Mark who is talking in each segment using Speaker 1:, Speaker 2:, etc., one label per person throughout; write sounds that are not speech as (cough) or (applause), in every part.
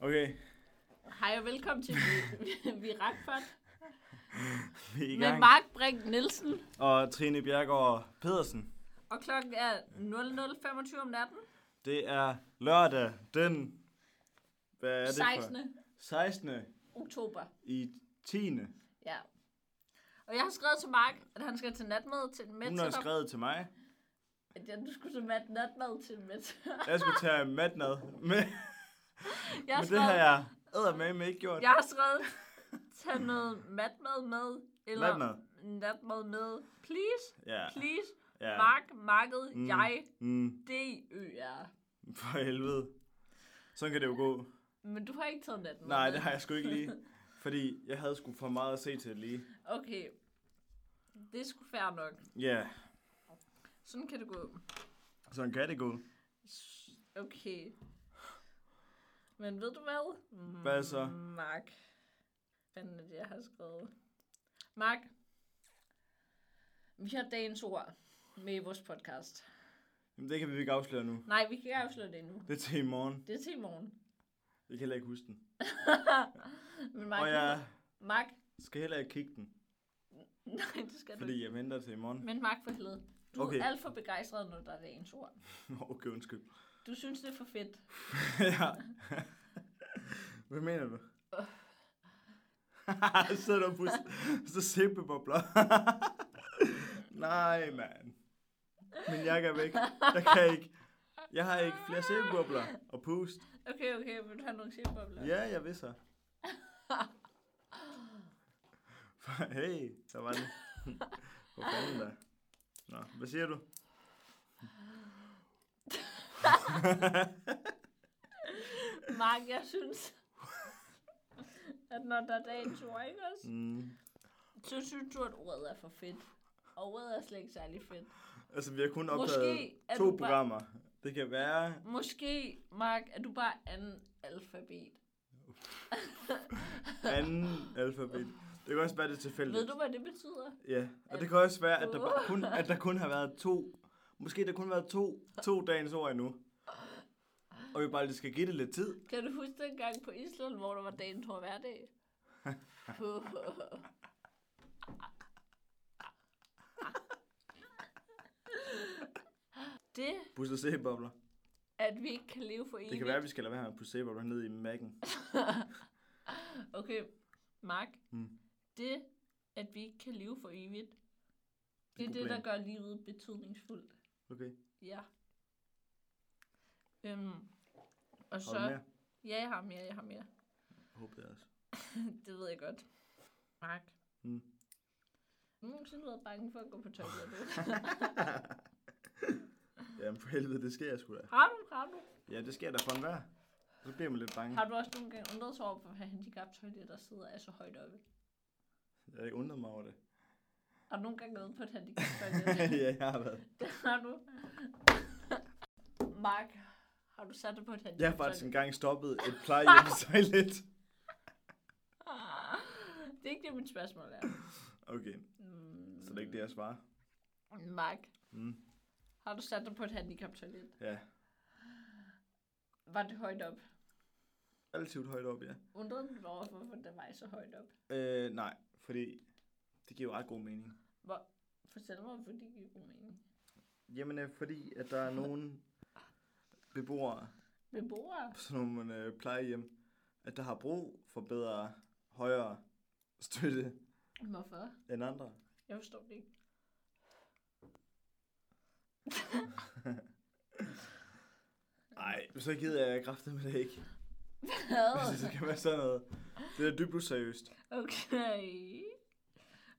Speaker 1: Okay,
Speaker 2: Hej og velkommen til Vi- (laughs) Vi Rakpot
Speaker 1: vi er i
Speaker 2: med
Speaker 1: gang.
Speaker 2: Mark Brink Nielsen.
Speaker 1: Og Trine Bjergård Pedersen.
Speaker 2: Og klokken er 00.25 om natten.
Speaker 1: Det er lørdag den... Hvad er det for?
Speaker 2: 16.
Speaker 1: 16.
Speaker 2: oktober.
Speaker 1: i 10.
Speaker 2: Ja. Og jeg har skrevet til Mark, at han skal til natmad til en
Speaker 1: Hun har
Speaker 2: mætter.
Speaker 1: skrevet til mig.
Speaker 2: At jeg, du skulle til mat, natmad til en mætter.
Speaker 1: Jeg skulle tage matmad. Men,
Speaker 2: (laughs) Jeg har
Speaker 1: men det har
Speaker 2: skrevet,
Speaker 1: jeg eddermame ikke gjort.
Speaker 2: jeg har skrevet tag noget matmad med. Eller
Speaker 1: Natmad.
Speaker 2: natmad med. Please,
Speaker 1: Ja,
Speaker 2: please.
Speaker 1: ja.
Speaker 2: Mark, Market,
Speaker 1: Mm.
Speaker 2: jeg,
Speaker 1: Mm,
Speaker 2: D-Ø-R.
Speaker 1: for helvede. Sådan kan det jo gå.
Speaker 2: Men du har ikke taget natmad
Speaker 1: Nej,
Speaker 2: med.
Speaker 1: det har jeg sgu ikke lige. Fordi jeg havde sgu for meget at se til lige.
Speaker 2: Okay. Det er sgu fair nok.
Speaker 1: Ja, yeah,
Speaker 2: Sådan kan det gå.
Speaker 1: sådan kan det gå.
Speaker 2: Okay. Men ved du hvad? Mm,
Speaker 1: Hvad så?
Speaker 2: Mark. Hvad er det, jeg har skrevet? Mark. Vi har dagens ord med i vores podcast.
Speaker 1: Jamen, det kan vi ikke afsløre nu.
Speaker 2: Nej, vi kan ikke afsløre det endnu.
Speaker 1: Det er til i morgen.
Speaker 2: Det er til i morgen.
Speaker 1: Jeg kan heller ikke huske den.
Speaker 2: Men Mark,
Speaker 1: Og jeg
Speaker 2: Mark.
Speaker 1: skal heller ikke kigge den,
Speaker 2: Nej, det skal du ikke.
Speaker 1: fordi jeg venter til i morgen. (laughs)
Speaker 2: Men Mark for helvede. Du okay.
Speaker 1: Okay.
Speaker 2: er alt for begejstret, når der er dagens ord.
Speaker 1: okay, undskyld.
Speaker 2: Du synes, det er for fedt.
Speaker 1: ja. Hvad mener du? (laughs) Så sidder du på så simpe bobler. (laughs) Nej, mand. Min jakke er væk. Jeg kan ikke. Jeg har ikke flere sæbebobler og pust.
Speaker 2: Okay, okay, vil du have nogle chipbobler?
Speaker 1: Ja, jeg vil så. Hey, der var den. Hvor fanden der? Nå, hvad siger du?
Speaker 2: Mark, jeg synes, at når der er dagens ord, ikke også?
Speaker 1: Mm.
Speaker 2: Så synes du, at ordet er for fedt. Og ordet er slet ikke særlig fedt.
Speaker 1: Altså, vi har kun opdaget
Speaker 2: Måske er,
Speaker 1: to
Speaker 2: du bare,
Speaker 1: programmer. Det kan være...
Speaker 2: måske, Mark, er du bare anden alfabet.
Speaker 1: anden alfabet. Det kan også være, det er tilfældigt.
Speaker 2: Ved du, hvad det betyder?
Speaker 1: Ja, og det kan også være, at der, bare kun, at der kun har været to. Måske der kun har været to, to dagens ord endnu. Og vi bare lige skal give det lidt tid.
Speaker 2: Kan du huske den gang på Island, hvor der var dagens ord hver
Speaker 1: (laughs)
Speaker 2: dag? det,
Speaker 1: Pusse sæbobler.
Speaker 2: at vi ikke kan leve for evigt.
Speaker 1: Det kan være, at vi skal lade være med at pusse sæbobler ned i mækken.
Speaker 2: Okay, Mark.
Speaker 1: Mm.
Speaker 2: Det, at vi ikke kan leve for evigt, det er
Speaker 1: et
Speaker 2: det, der
Speaker 1: problem.
Speaker 2: gør livet betydningsfuldt.
Speaker 1: Okay,
Speaker 2: Ja. Øhm, og
Speaker 1: har du
Speaker 2: så...
Speaker 1: mere?
Speaker 2: Ja, jeg har mere, jeg har mere. (laughs)
Speaker 1: Håber jeg også. (laughs)
Speaker 2: det ved jeg godt. Mark.
Speaker 1: Mm.
Speaker 2: Har du nogensinde været bange for at gå på toilettet?
Speaker 1: Jamen for helvede, det sker jeg sgu da.
Speaker 2: (laughs) har du, har du?
Speaker 1: Ja, det sker der for enhver. Så bliver man lidt bange.
Speaker 2: Har du også nogle gange undret sig over, hvorfor handicap-toiletter sidder er så højt oppe?
Speaker 1: Jeg har ikke undret mig over det. (laughs)
Speaker 2: Har du nogle gange gået på et handicap-toilet?
Speaker 1: ja, jeg har været.
Speaker 2: (laughs) Det har du. Mark, har du sat dig på et handicap?
Speaker 1: Jeg har faktisk engang stoppet et plejehjemstoilet.
Speaker 2: Ah, Det er ikke det, mit spørgsmål er.
Speaker 1: Okay,
Speaker 2: Mm,
Speaker 1: så det er ikke det, jeg svarer.
Speaker 2: Mark,
Speaker 1: Mm.
Speaker 2: har du sat dig på et handicap-toilet?
Speaker 1: Ja,
Speaker 2: Var det højt op?
Speaker 1: relativt højt op, ja.
Speaker 2: Undrede du dig over, hvorfor det var så højt op?
Speaker 1: Øh, nej, fordi det giver jo ret god mening.
Speaker 2: Hvor, fortæl mig, hvorfor det giver god mening.
Speaker 1: Jamen, øh, fordi at der er nogle beboere
Speaker 2: Beboere?
Speaker 1: på sådan nogle øh, plejehjem, at der har brug for bedre, højere støtte
Speaker 2: Hvorfor?
Speaker 1: end andre.
Speaker 2: Jeg forstår det ikke.
Speaker 1: Nej, så gider jeg kraftet med det ikke. Hvis (laughs) det skal være sådan noget. Det er dybt useriøst.
Speaker 2: Okay.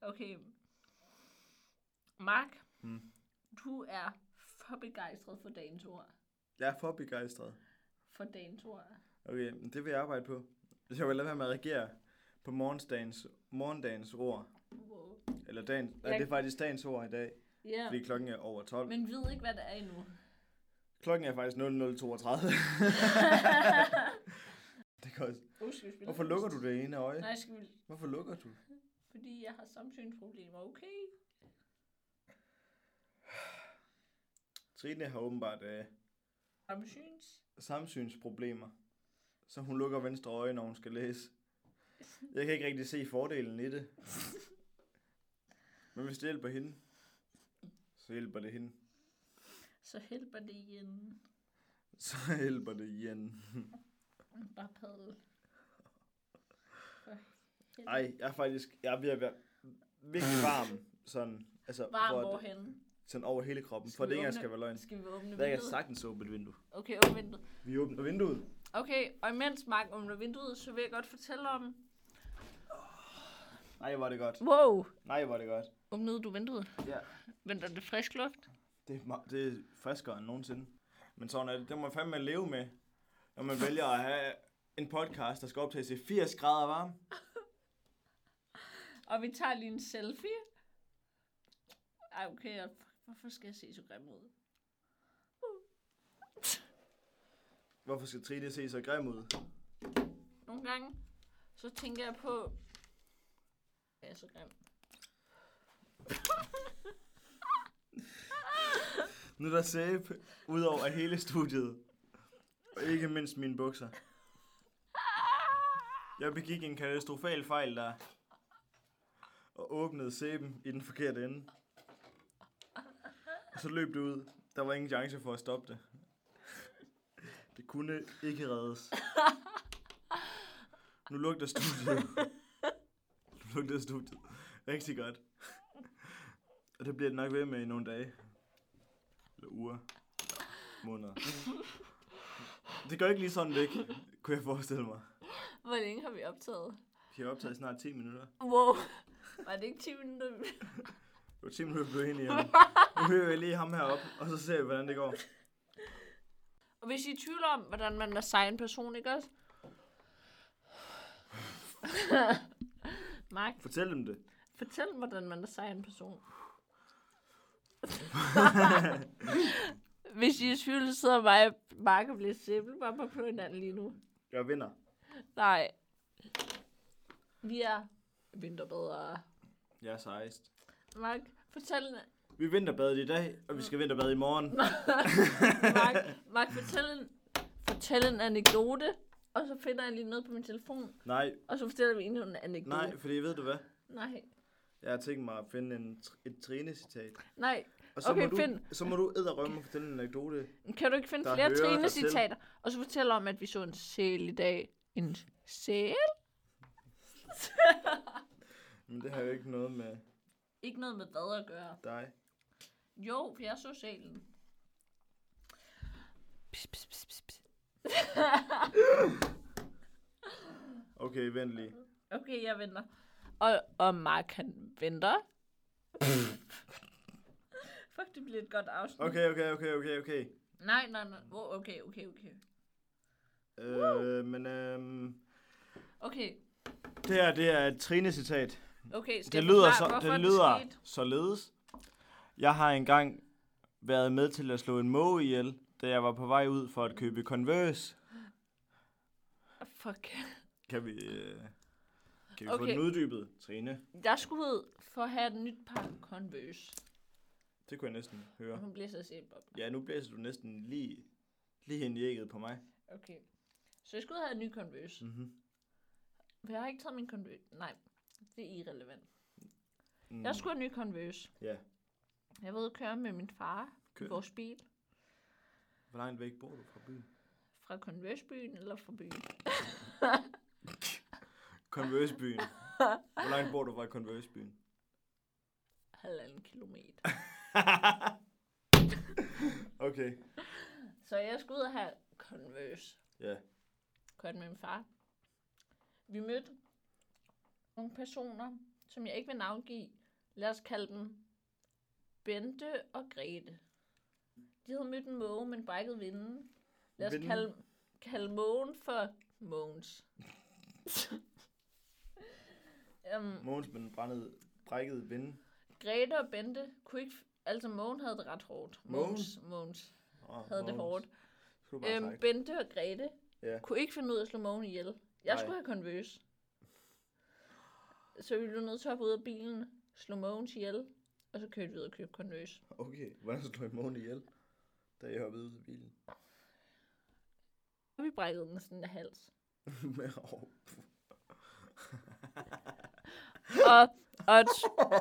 Speaker 2: Okay. Mark,
Speaker 1: Mm.
Speaker 2: du er for begejstret for dagens ord.
Speaker 1: Jeg er for begejstret.
Speaker 2: For dagens ord.
Speaker 1: Okay, men det vil jeg arbejde på. Jeg vil lade være med at reagere på morgendagens, morgendagens ord.
Speaker 2: Wow.
Speaker 1: Eller dagens, nej,
Speaker 2: Jeg-
Speaker 1: det er faktisk dagens ord i dag,
Speaker 2: Ja,
Speaker 1: fordi klokken er over 12.
Speaker 2: men ved ikke, hvad det er (laughs) endnu.
Speaker 1: Klokken er faktisk 0032. (laughs) det kan også.
Speaker 2: Uh, skal vi spille
Speaker 1: Hvorfor
Speaker 2: en
Speaker 1: lukker
Speaker 2: fest?
Speaker 1: du det ene øje?
Speaker 2: Nej, skal vi...
Speaker 1: Hvorfor lukker du?
Speaker 2: Fordi jeg har samsynsproblemer, okay?
Speaker 1: Trine har åbenbart øh,
Speaker 2: Samsyns?
Speaker 1: samsynsproblemer. så hun lukker venstre øje, når hun skal læse. Jeg kan ikke rigtig se fordelen i
Speaker 2: (laughs)
Speaker 1: det. Men hvis det hjælper hende, så hjælper det hende. (laughs)
Speaker 2: Så hjælper det igen.
Speaker 1: Så hjælper det igen.
Speaker 2: Bare padel. For helvede.
Speaker 1: Ej, jeg er faktisk, jeg er ved at være virkelig varm. Sådan, altså,
Speaker 2: Varm
Speaker 1: for at,
Speaker 2: hvorhen?
Speaker 1: sådan over hele kroppen. For
Speaker 2: Skal vi
Speaker 1: det ikke engang
Speaker 2: åbne-
Speaker 1: skal være løgn.
Speaker 2: Skal vi åbne
Speaker 1: Der kan jeg
Speaker 2: vinduet?
Speaker 1: sagtens åbne et vindue.
Speaker 2: Okay, åbne vinduet.
Speaker 1: Vi åbner vinduet.
Speaker 2: Okay, og imens Mark åbner vinduet, så vil jeg godt fortælle om...
Speaker 1: Nej, var det godt.
Speaker 2: Wow!
Speaker 1: Nej, var det godt.
Speaker 2: Åbnede du vinduet?
Speaker 1: Ja.
Speaker 2: Venter det frisk luft?
Speaker 1: Det er, ma- det er friskere end nogensinde. Men sådan er det. Det må man fandme leve med, når man vælger at have en podcast, der skal optages i 80 grader varme.
Speaker 2: Og vi tager lige en selfie. Ej, okay, jeg, hvorfor skal jeg se så grim ud?
Speaker 1: Hvorfor skal Trine se så grim ud?
Speaker 2: Nogle gange, så tænker jeg på... Jeg er så grim.
Speaker 1: Nu er der sæbe ud over hele studiet. Og ikke mindst mine bukser. Jeg begik en katastrofal fejl der. Og åbnede sæben i den forkerte ende. Og så løb det ud. Der var ingen chance for at stoppe det. Det kunne ikke reddes. Nu lugter studiet. Nu lugter studiet. Rigtig godt. Og det bliver det nok ved med i nogle dage. Eller uger. Måneder. Det går ikke lige sådan væk, kunne jeg forestille mig.
Speaker 2: Hvor længe har vi optaget?
Speaker 1: Vi har optaget i snart 10 minutter.
Speaker 2: Wow! Var det ikke 10 minutter?
Speaker 1: Det var 10 minutter, vi blev enige om. Nu hører jeg lige ham herop, og så ser vi, hvordan det går.
Speaker 2: Og hvis I er i tvivl om, hvordan man er sej en person, ikke (laughs) også? Mark,
Speaker 1: Fortæl dem det.
Speaker 2: fortæl, hvordan man er sej en person. (laughs) Hvis I er i tvivl, så sidder mig og Mark og bliver simpelthen på hinanden lige nu.
Speaker 1: Jeg vinder.
Speaker 2: Nej. Vi er vinterbedre.
Speaker 1: Jeg er sejst.
Speaker 2: Mark, fortæl,
Speaker 1: Vi vinterbadet i dag, og vi skal vinterbade i morgen.
Speaker 2: Mark, Mark fortæl, en, fortæl en anekdote, og så finder jeg lige noget på min telefon,
Speaker 1: Nej,
Speaker 2: og så fortæller vi endnu en anekdote.
Speaker 1: nej, fordi ved du hvad?
Speaker 2: Nej.
Speaker 1: Jeg har tænkt mig at finde en, tr- et Trine-citat.
Speaker 2: Nej.
Speaker 1: Og så
Speaker 2: Okay,
Speaker 1: må du,
Speaker 2: find.
Speaker 1: Så må du edderrømme og fortælle en anekdote.
Speaker 2: Kan du ikke finde
Speaker 1: Der
Speaker 2: flere
Speaker 1: hører dig
Speaker 2: Trine-citater? Og så fortælle om, at vi så en sæl i dag. En sæl?
Speaker 1: Men det har jo ikke noget med
Speaker 2: Ikke noget med hvad at gøre.
Speaker 1: dig.
Speaker 2: Jo, for jeg så sælen. Pis, pis, pis, pis, pis.
Speaker 1: Okay, vent lige.
Speaker 2: Okay, jeg venter. Og, og Mark, han venter. (laughs) Fuck, det bliver et godt afsnit.
Speaker 1: Okay, okay, okay, okay, okay.
Speaker 2: Nej, nej, nej. Wow, okay, okay, okay.
Speaker 1: Øh, men øhm,
Speaker 2: Okay,
Speaker 1: det her, det er et Trine-citat.
Speaker 2: okay. Skal
Speaker 1: Det
Speaker 2: jeg
Speaker 1: lyder,
Speaker 2: forklare,
Speaker 1: så,
Speaker 2: hvorfor
Speaker 1: det lyder
Speaker 2: skete?
Speaker 1: således. Jeg har engang været med til at slå en måge ihjel, da jeg var på vej ud for at købe Converse.
Speaker 2: Fuck.
Speaker 1: Kan vi, øh, kan vi få
Speaker 2: Okay.
Speaker 1: den uddybet, Trine?
Speaker 2: Jeg skulle ud for at have et nyt par Converse.
Speaker 1: Det kunne jeg næsten
Speaker 2: Og
Speaker 1: høre.
Speaker 2: hun bliver så simpel.
Speaker 1: Ja, nu blæser du næsten lige, lige ind i ægget på mig.
Speaker 2: Okay. Så jeg skulle ud og have en ny Converse.
Speaker 1: Mm-hmm.
Speaker 2: For jeg har ikke taget min Converse. Nej, det er irrelevant.
Speaker 1: Mm.
Speaker 2: Jeg skulle have en ny Converse.
Speaker 1: Ja.
Speaker 2: Jeg var ude at køre med min far i
Speaker 1: Kør.
Speaker 2: vores bil.
Speaker 1: Hvor langt væk bor du fra byen?
Speaker 2: Fra Converse-byen eller fra byen. (laughs)
Speaker 1: Converse-byen. Hvor langt bor du fra Converse-byen? (laughs)
Speaker 2: Halvanden kilometer.
Speaker 1: Okay.
Speaker 2: Så jeg skulle ud og have Converse.
Speaker 1: Ja.
Speaker 2: Kørte med min far. Vi mødte nogle personer, som jeg ikke vil navngive. Lad os kalde dem Bente og Grete. De havde mødt en måge, men brækket vinden. Lad os
Speaker 1: Vinden?
Speaker 2: kalde, kalde mågen for Mogens.
Speaker 1: (laughs)
Speaker 2: um,
Speaker 1: Mogens med den brændede, brækkede vinde.
Speaker 2: Grete og Bente kunne ikke... f- Altså, Mogen havde det ret hårdt. Mogens, Mogens
Speaker 1: Oh,
Speaker 2: havde det hårdt.
Speaker 1: Skulle du bare
Speaker 2: Øhm,
Speaker 1: øhm,
Speaker 2: Bente og Grete
Speaker 1: Ja.
Speaker 2: kunne ikke finde ud af at slå Mogen ihjel. Jeg
Speaker 1: Nej.
Speaker 2: skulle have konvøs. Så vi blev nødt til at hoppe ud af bilen, slå Mogens ihjel, og så kørte vi ud og købte konvøs.
Speaker 1: Okay, hvordan slog I Mogens ihjel, da jeg hoppede ud af bilen? (laughs)
Speaker 2: Og vi brækkede den sådan af hals.
Speaker 1: Med hår.
Speaker 2: Og, og, et,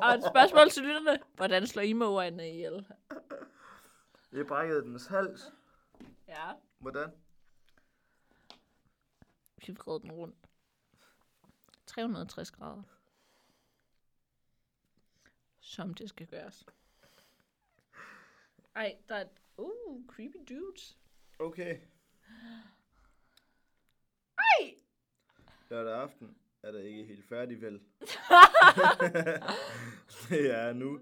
Speaker 2: og et spørgsmål til lytterne. Hvordan slår I mågerne ihjel?
Speaker 1: Jeg brækkede dens hals.
Speaker 2: Ja,
Speaker 1: Hvordan?
Speaker 2: vi vrede den rundt. 360 grader. Som det skal gøres. Ej, der er et... Uh, creepy dudes.
Speaker 1: Okay.
Speaker 2: Ej!
Speaker 1: Lørdag aften er der ikke helt færdig,
Speaker 2: (laughs)
Speaker 1: vel? (laughs) det er nu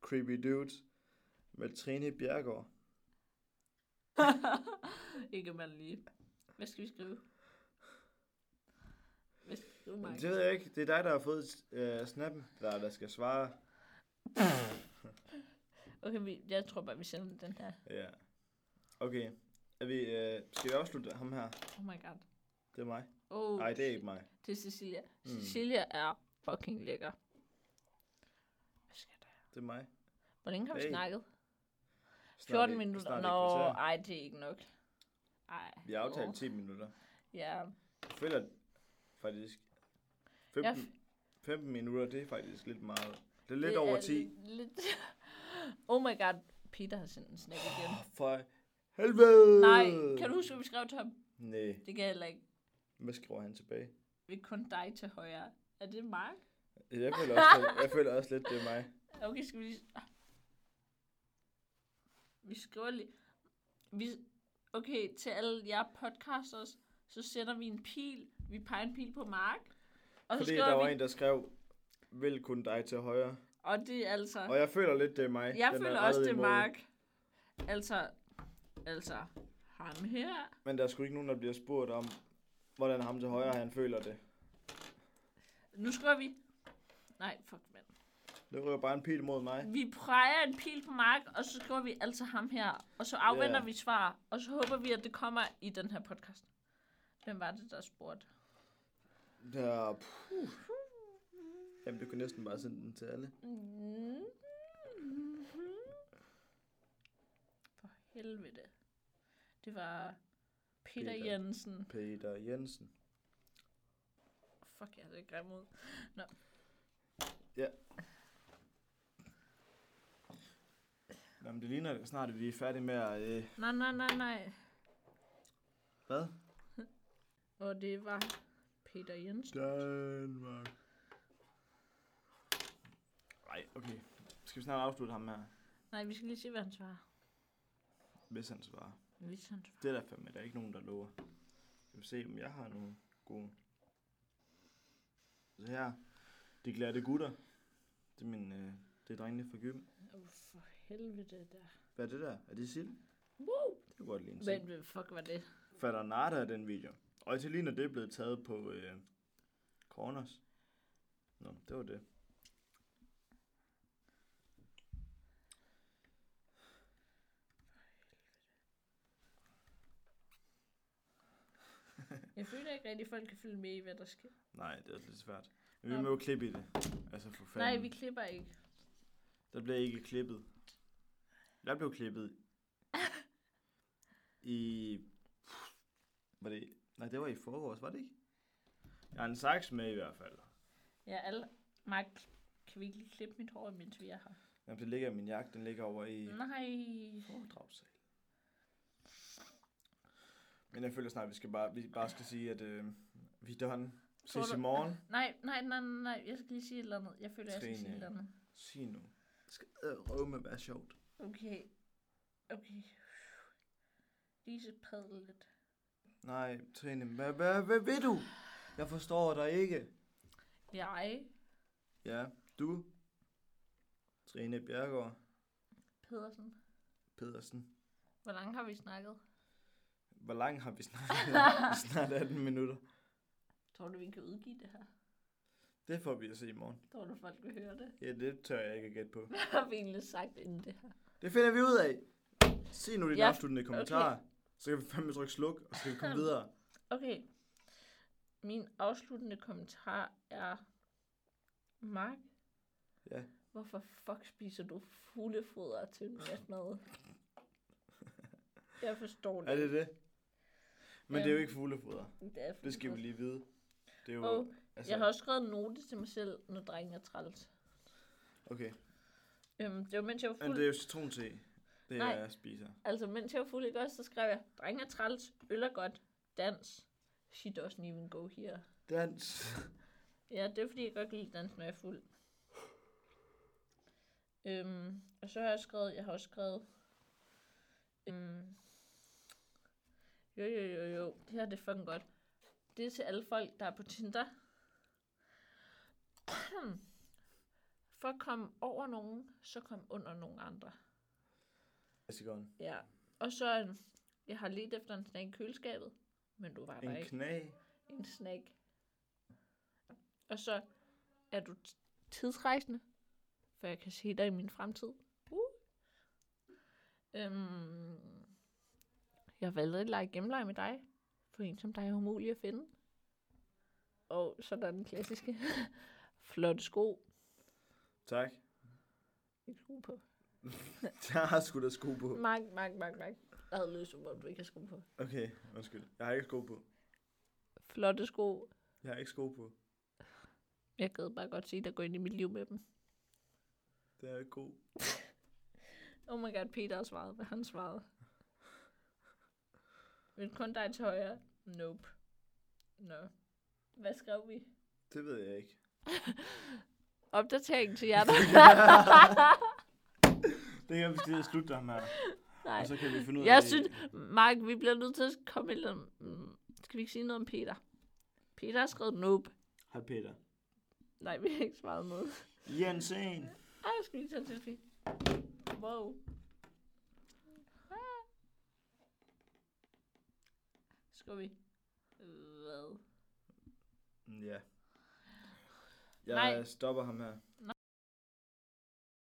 Speaker 1: Creepy Dudes med Trine Bjergård.
Speaker 2: Ikke man lige. Hvad skal vi skrive? Hvad skal oh vi skrive, Mark?
Speaker 1: Det ved jeg ikke. Det er dig, der har fået øh, snappen, der, der skal svare.
Speaker 2: Okay, vi, jeg tror bare, vi sender den her.
Speaker 1: Ja. Okay. Er vi, øh, skal vi afslutte ham her?
Speaker 2: Oh my god.
Speaker 1: Det er mig.
Speaker 2: Oh,
Speaker 1: Nej, det er ikke mig.
Speaker 2: Det er Cecilia.
Speaker 1: Mm.
Speaker 2: Cecilia er fucking lækker. Hvad skal der?
Speaker 1: Det er mig.
Speaker 2: Hvor længe har vi
Speaker 1: Hey.
Speaker 2: snakket?
Speaker 1: Snart
Speaker 2: 14
Speaker 1: et-
Speaker 2: minutter?
Speaker 1: snart et
Speaker 2: Nå,
Speaker 1: kvarter.
Speaker 2: ej, det er ikke nok. Ej.
Speaker 1: Vi har aftalt
Speaker 2: åh,
Speaker 1: 10 minutter.
Speaker 2: Ja.
Speaker 1: Jeg føler faktisk 15,
Speaker 2: Jeg,
Speaker 1: 15 minutter, det er faktisk lidt meget. Det er lidt over 10.
Speaker 2: Lidt... (laughs) Oh my god, Peter har sendt en snap igen.
Speaker 1: Åh, For helvede!
Speaker 2: Nej, kan du huske, hvad vi skrev til ham?
Speaker 1: Nej.
Speaker 2: Det kan jeg heller ikke.
Speaker 1: Hvad skriver han tilbage?
Speaker 2: Vi er kun dig til højre. Er det Mark?
Speaker 1: Jeg føler også, jeg føler også lidt, det er mig.
Speaker 2: Okay, skal vi lige... Vi skriver lige... Vi... Okay, til alle jer podcasters, så sender vi en pil. Vi peger en pil på Mark. (laughs) Og så
Speaker 1: Fordi
Speaker 2: skriver
Speaker 1: der var
Speaker 2: vi...
Speaker 1: en, der skrev, vil kun dig til højre.
Speaker 2: Og det er altså...
Speaker 1: Og jeg føler lidt, det er mig.
Speaker 2: jeg
Speaker 1: Den er
Speaker 2: føler
Speaker 1: rettet
Speaker 2: også, det er
Speaker 1: imod.
Speaker 2: Mark. Altså... Altså... Ham her.
Speaker 1: Men der er sgu ikke nogen, der bliver spurgt om, hvordan ham til højre, han føler det.
Speaker 2: Nu skriver vi... Nej, fuck, mand.
Speaker 1: Det rører bare en pil mod mig.
Speaker 2: Vi peger en pil på Mark, og så skriver vi altså ham her. Og så afventer
Speaker 1: Ja.
Speaker 2: yeah. vi svar, og så håber vi, at det kommer i den her podcast. Hvem var det, der spurgte?
Speaker 1: Der, puh. Jamen, du kan næsten bare sende den til alle.
Speaker 2: For helvede. Det var Peter,
Speaker 1: Peter.
Speaker 2: Peter. Jensen.
Speaker 1: Peter Jensen.
Speaker 2: Fuck, jeg havde grim ud. Nå.
Speaker 1: Ja. Jamen, det ligner snart, at vi er færdige med at... Øh,
Speaker 2: Nej, nej, nej, nej.
Speaker 1: hvad?
Speaker 2: Og det var Peter Jensen.
Speaker 1: Danmark. Nej, okay. Skal vi snart afslutte ham her,
Speaker 2: Nej, vi skal lige se, hvad han svarer.
Speaker 1: hvis han svarer.
Speaker 2: Hvis han svarer.
Speaker 1: Det er der fandme, der er ikke nogen, der lover. Skal vi se, om jeg har nogle gode. Så her, de glatte gutter. Det er, min, øh, det er drengene fra gym.
Speaker 2: Åh, for helvede der.
Speaker 1: Hvad er det der? Er det sild?
Speaker 2: Wow.
Speaker 1: Det kunne godt ligne sild.
Speaker 2: Hvem hvem fuck var det?
Speaker 1: Fatter Narda er den video. Og til ligner det er blevet taget på øh, Corners. Nå, det var det.
Speaker 2: Jeg føler ikke rigtig, at folk kan følge med i, hvad der sker.
Speaker 1: Nej, det er lidt svært. Men vi
Speaker 2: Nå.
Speaker 1: må jo klippe i det. Altså for fanden.
Speaker 2: Nej, vi klipper ikke.
Speaker 1: Der bliver ikke klippet. Der blev klippet i... Var det... Nej, det var i forgårs, var det ikke? Jeg har en saks med i hvert fald.
Speaker 2: Ja, alle... Mark, kan vi ikke lige klippe mit hår, mens vi er her?
Speaker 1: Jamen, det ligger i min jakke, den ligger over i
Speaker 2: Nej.
Speaker 1: foredragssalen. Men jeg føler snart, at vi, skal bare, vi bare skal sige, at øh, vi er done.
Speaker 2: Tror
Speaker 1: Ses i
Speaker 2: du-
Speaker 1: morgen.
Speaker 2: Nej, nej, nej, nej, nej. Jeg skal lige sige et eller andet. Jeg føler, jeg skal
Speaker 1: Trine.
Speaker 2: sige et eller andet.
Speaker 1: Sig nu. Det skal røve med at være sjovt.
Speaker 2: Okay. Okay. Lise padle lidt.
Speaker 1: Nej, Trine, hvad, hvad, hvad vil du? Jeg forstår dig ikke.
Speaker 2: Jeg
Speaker 1: Ja, du, Trine Bjergård
Speaker 2: Pedersen.
Speaker 1: Pedersen.
Speaker 2: Hvor langt har vi snakket?
Speaker 1: Hvor lang har vi snart? snart 18 minutter.
Speaker 2: Tror du, vi kan udgive det her?
Speaker 1: Det får vi at se i morgen.
Speaker 2: Tror du, folk vil høre det?
Speaker 1: Ja, det tør jeg ikke at gætte på.
Speaker 2: Hvad (laughs) har vi egentlig sagt inden det her?
Speaker 1: Det finder vi ud af. Se nu dine
Speaker 2: Ja,
Speaker 1: afsluttende kommentarer. Så kan vi fandme trykke sluk, og så kan vi
Speaker 2: (laughs)
Speaker 1: komme videre.
Speaker 2: Okay. Min afsluttende kommentar er... Mark?
Speaker 1: Ja.
Speaker 2: Hvorfor fuck spiser du fuglefoder til middagsmad? Jeg forstår det.
Speaker 1: Er det det? Men
Speaker 2: Øhm.
Speaker 1: det er jo ikke fuglefoder.
Speaker 2: Det, er
Speaker 1: Det skal vi lige vide. Det er jo...
Speaker 2: Og
Speaker 1: altså,
Speaker 2: jeg har også skrevet en note til mig selv, når drengen er træls.
Speaker 1: Okay.
Speaker 2: Øhm, det var mens jeg var
Speaker 1: Men
Speaker 2: fuld.
Speaker 1: det er jo citronte, det
Speaker 2: Nej.
Speaker 1: jeg spiser.
Speaker 2: Altså, mens jeg var fuld, ikke også, så skrev jeg, drengen er træls, øl er godt, dans. She doesn't even go here.
Speaker 1: Dans.
Speaker 2: Ja, det er fordi, jeg godt kan lide dans, når jeg er fuld. Øhm, og så har jeg skrevet, jeg har også skrevet, øhm, jo, jo, jo, jo, det her det er fucking godt. Det er til alle folk, der er på Tinder. (clears throat) For at komme over nogen, så kom under nogen andre.
Speaker 1: Klassikeren.
Speaker 2: Ja, og så, øhm, jeg har let efter en snack i køleskabet, men du var der
Speaker 1: En
Speaker 2: ikke
Speaker 1: knæ.
Speaker 2: en snack. Og så er du t- tidsrejsende, for jeg kan se dig i min fremtid. Uh. Øhm, jeg valgte at lege gemleje med dig, for en som dig er umulig at finde. Og så er der den klassiske (laughs) flotte sko.
Speaker 1: Tak. (laughs)
Speaker 2: Ikke sko på.
Speaker 1: Der har sgu da sko på.
Speaker 2: Mark, mark, mark, mark. Jeg havde lyst til, om du ikke har sko på.
Speaker 1: Okay, undskyld. Jeg har ikke sko på.
Speaker 2: Flotte sko.
Speaker 1: Jeg har ikke sko på.
Speaker 2: Jeg gad bare godt se dig gå ind i mit liv med dem.
Speaker 1: Det er jo ikke god.
Speaker 2: Oh my god, Peter har svaret. Hvad han svarede? Vil kun dig til højre? Nope. No. Hvad skrev vi?
Speaker 1: Det ved jeg ikke.
Speaker 2: Opdatering til jer, der...
Speaker 1: Det kan vi lige slutte ham her.
Speaker 2: Nej.
Speaker 1: Og så kan vi finde ud af
Speaker 2: Jeg
Speaker 1: det.
Speaker 2: synes, Mark, vi bliver nødt til at komme ind om... mm, Skal vi ikke sige noget om Peter? Peter har skrevet nope.
Speaker 1: Hej Peter.
Speaker 2: Nej, vi har ikke svaret noget.
Speaker 1: Jensen.
Speaker 2: Ej, jeg skal lige tage til fri. Wow. Ah. Skal vi? Hvad?
Speaker 1: Ja.
Speaker 2: Nej.
Speaker 1: Jeg stopper ham her.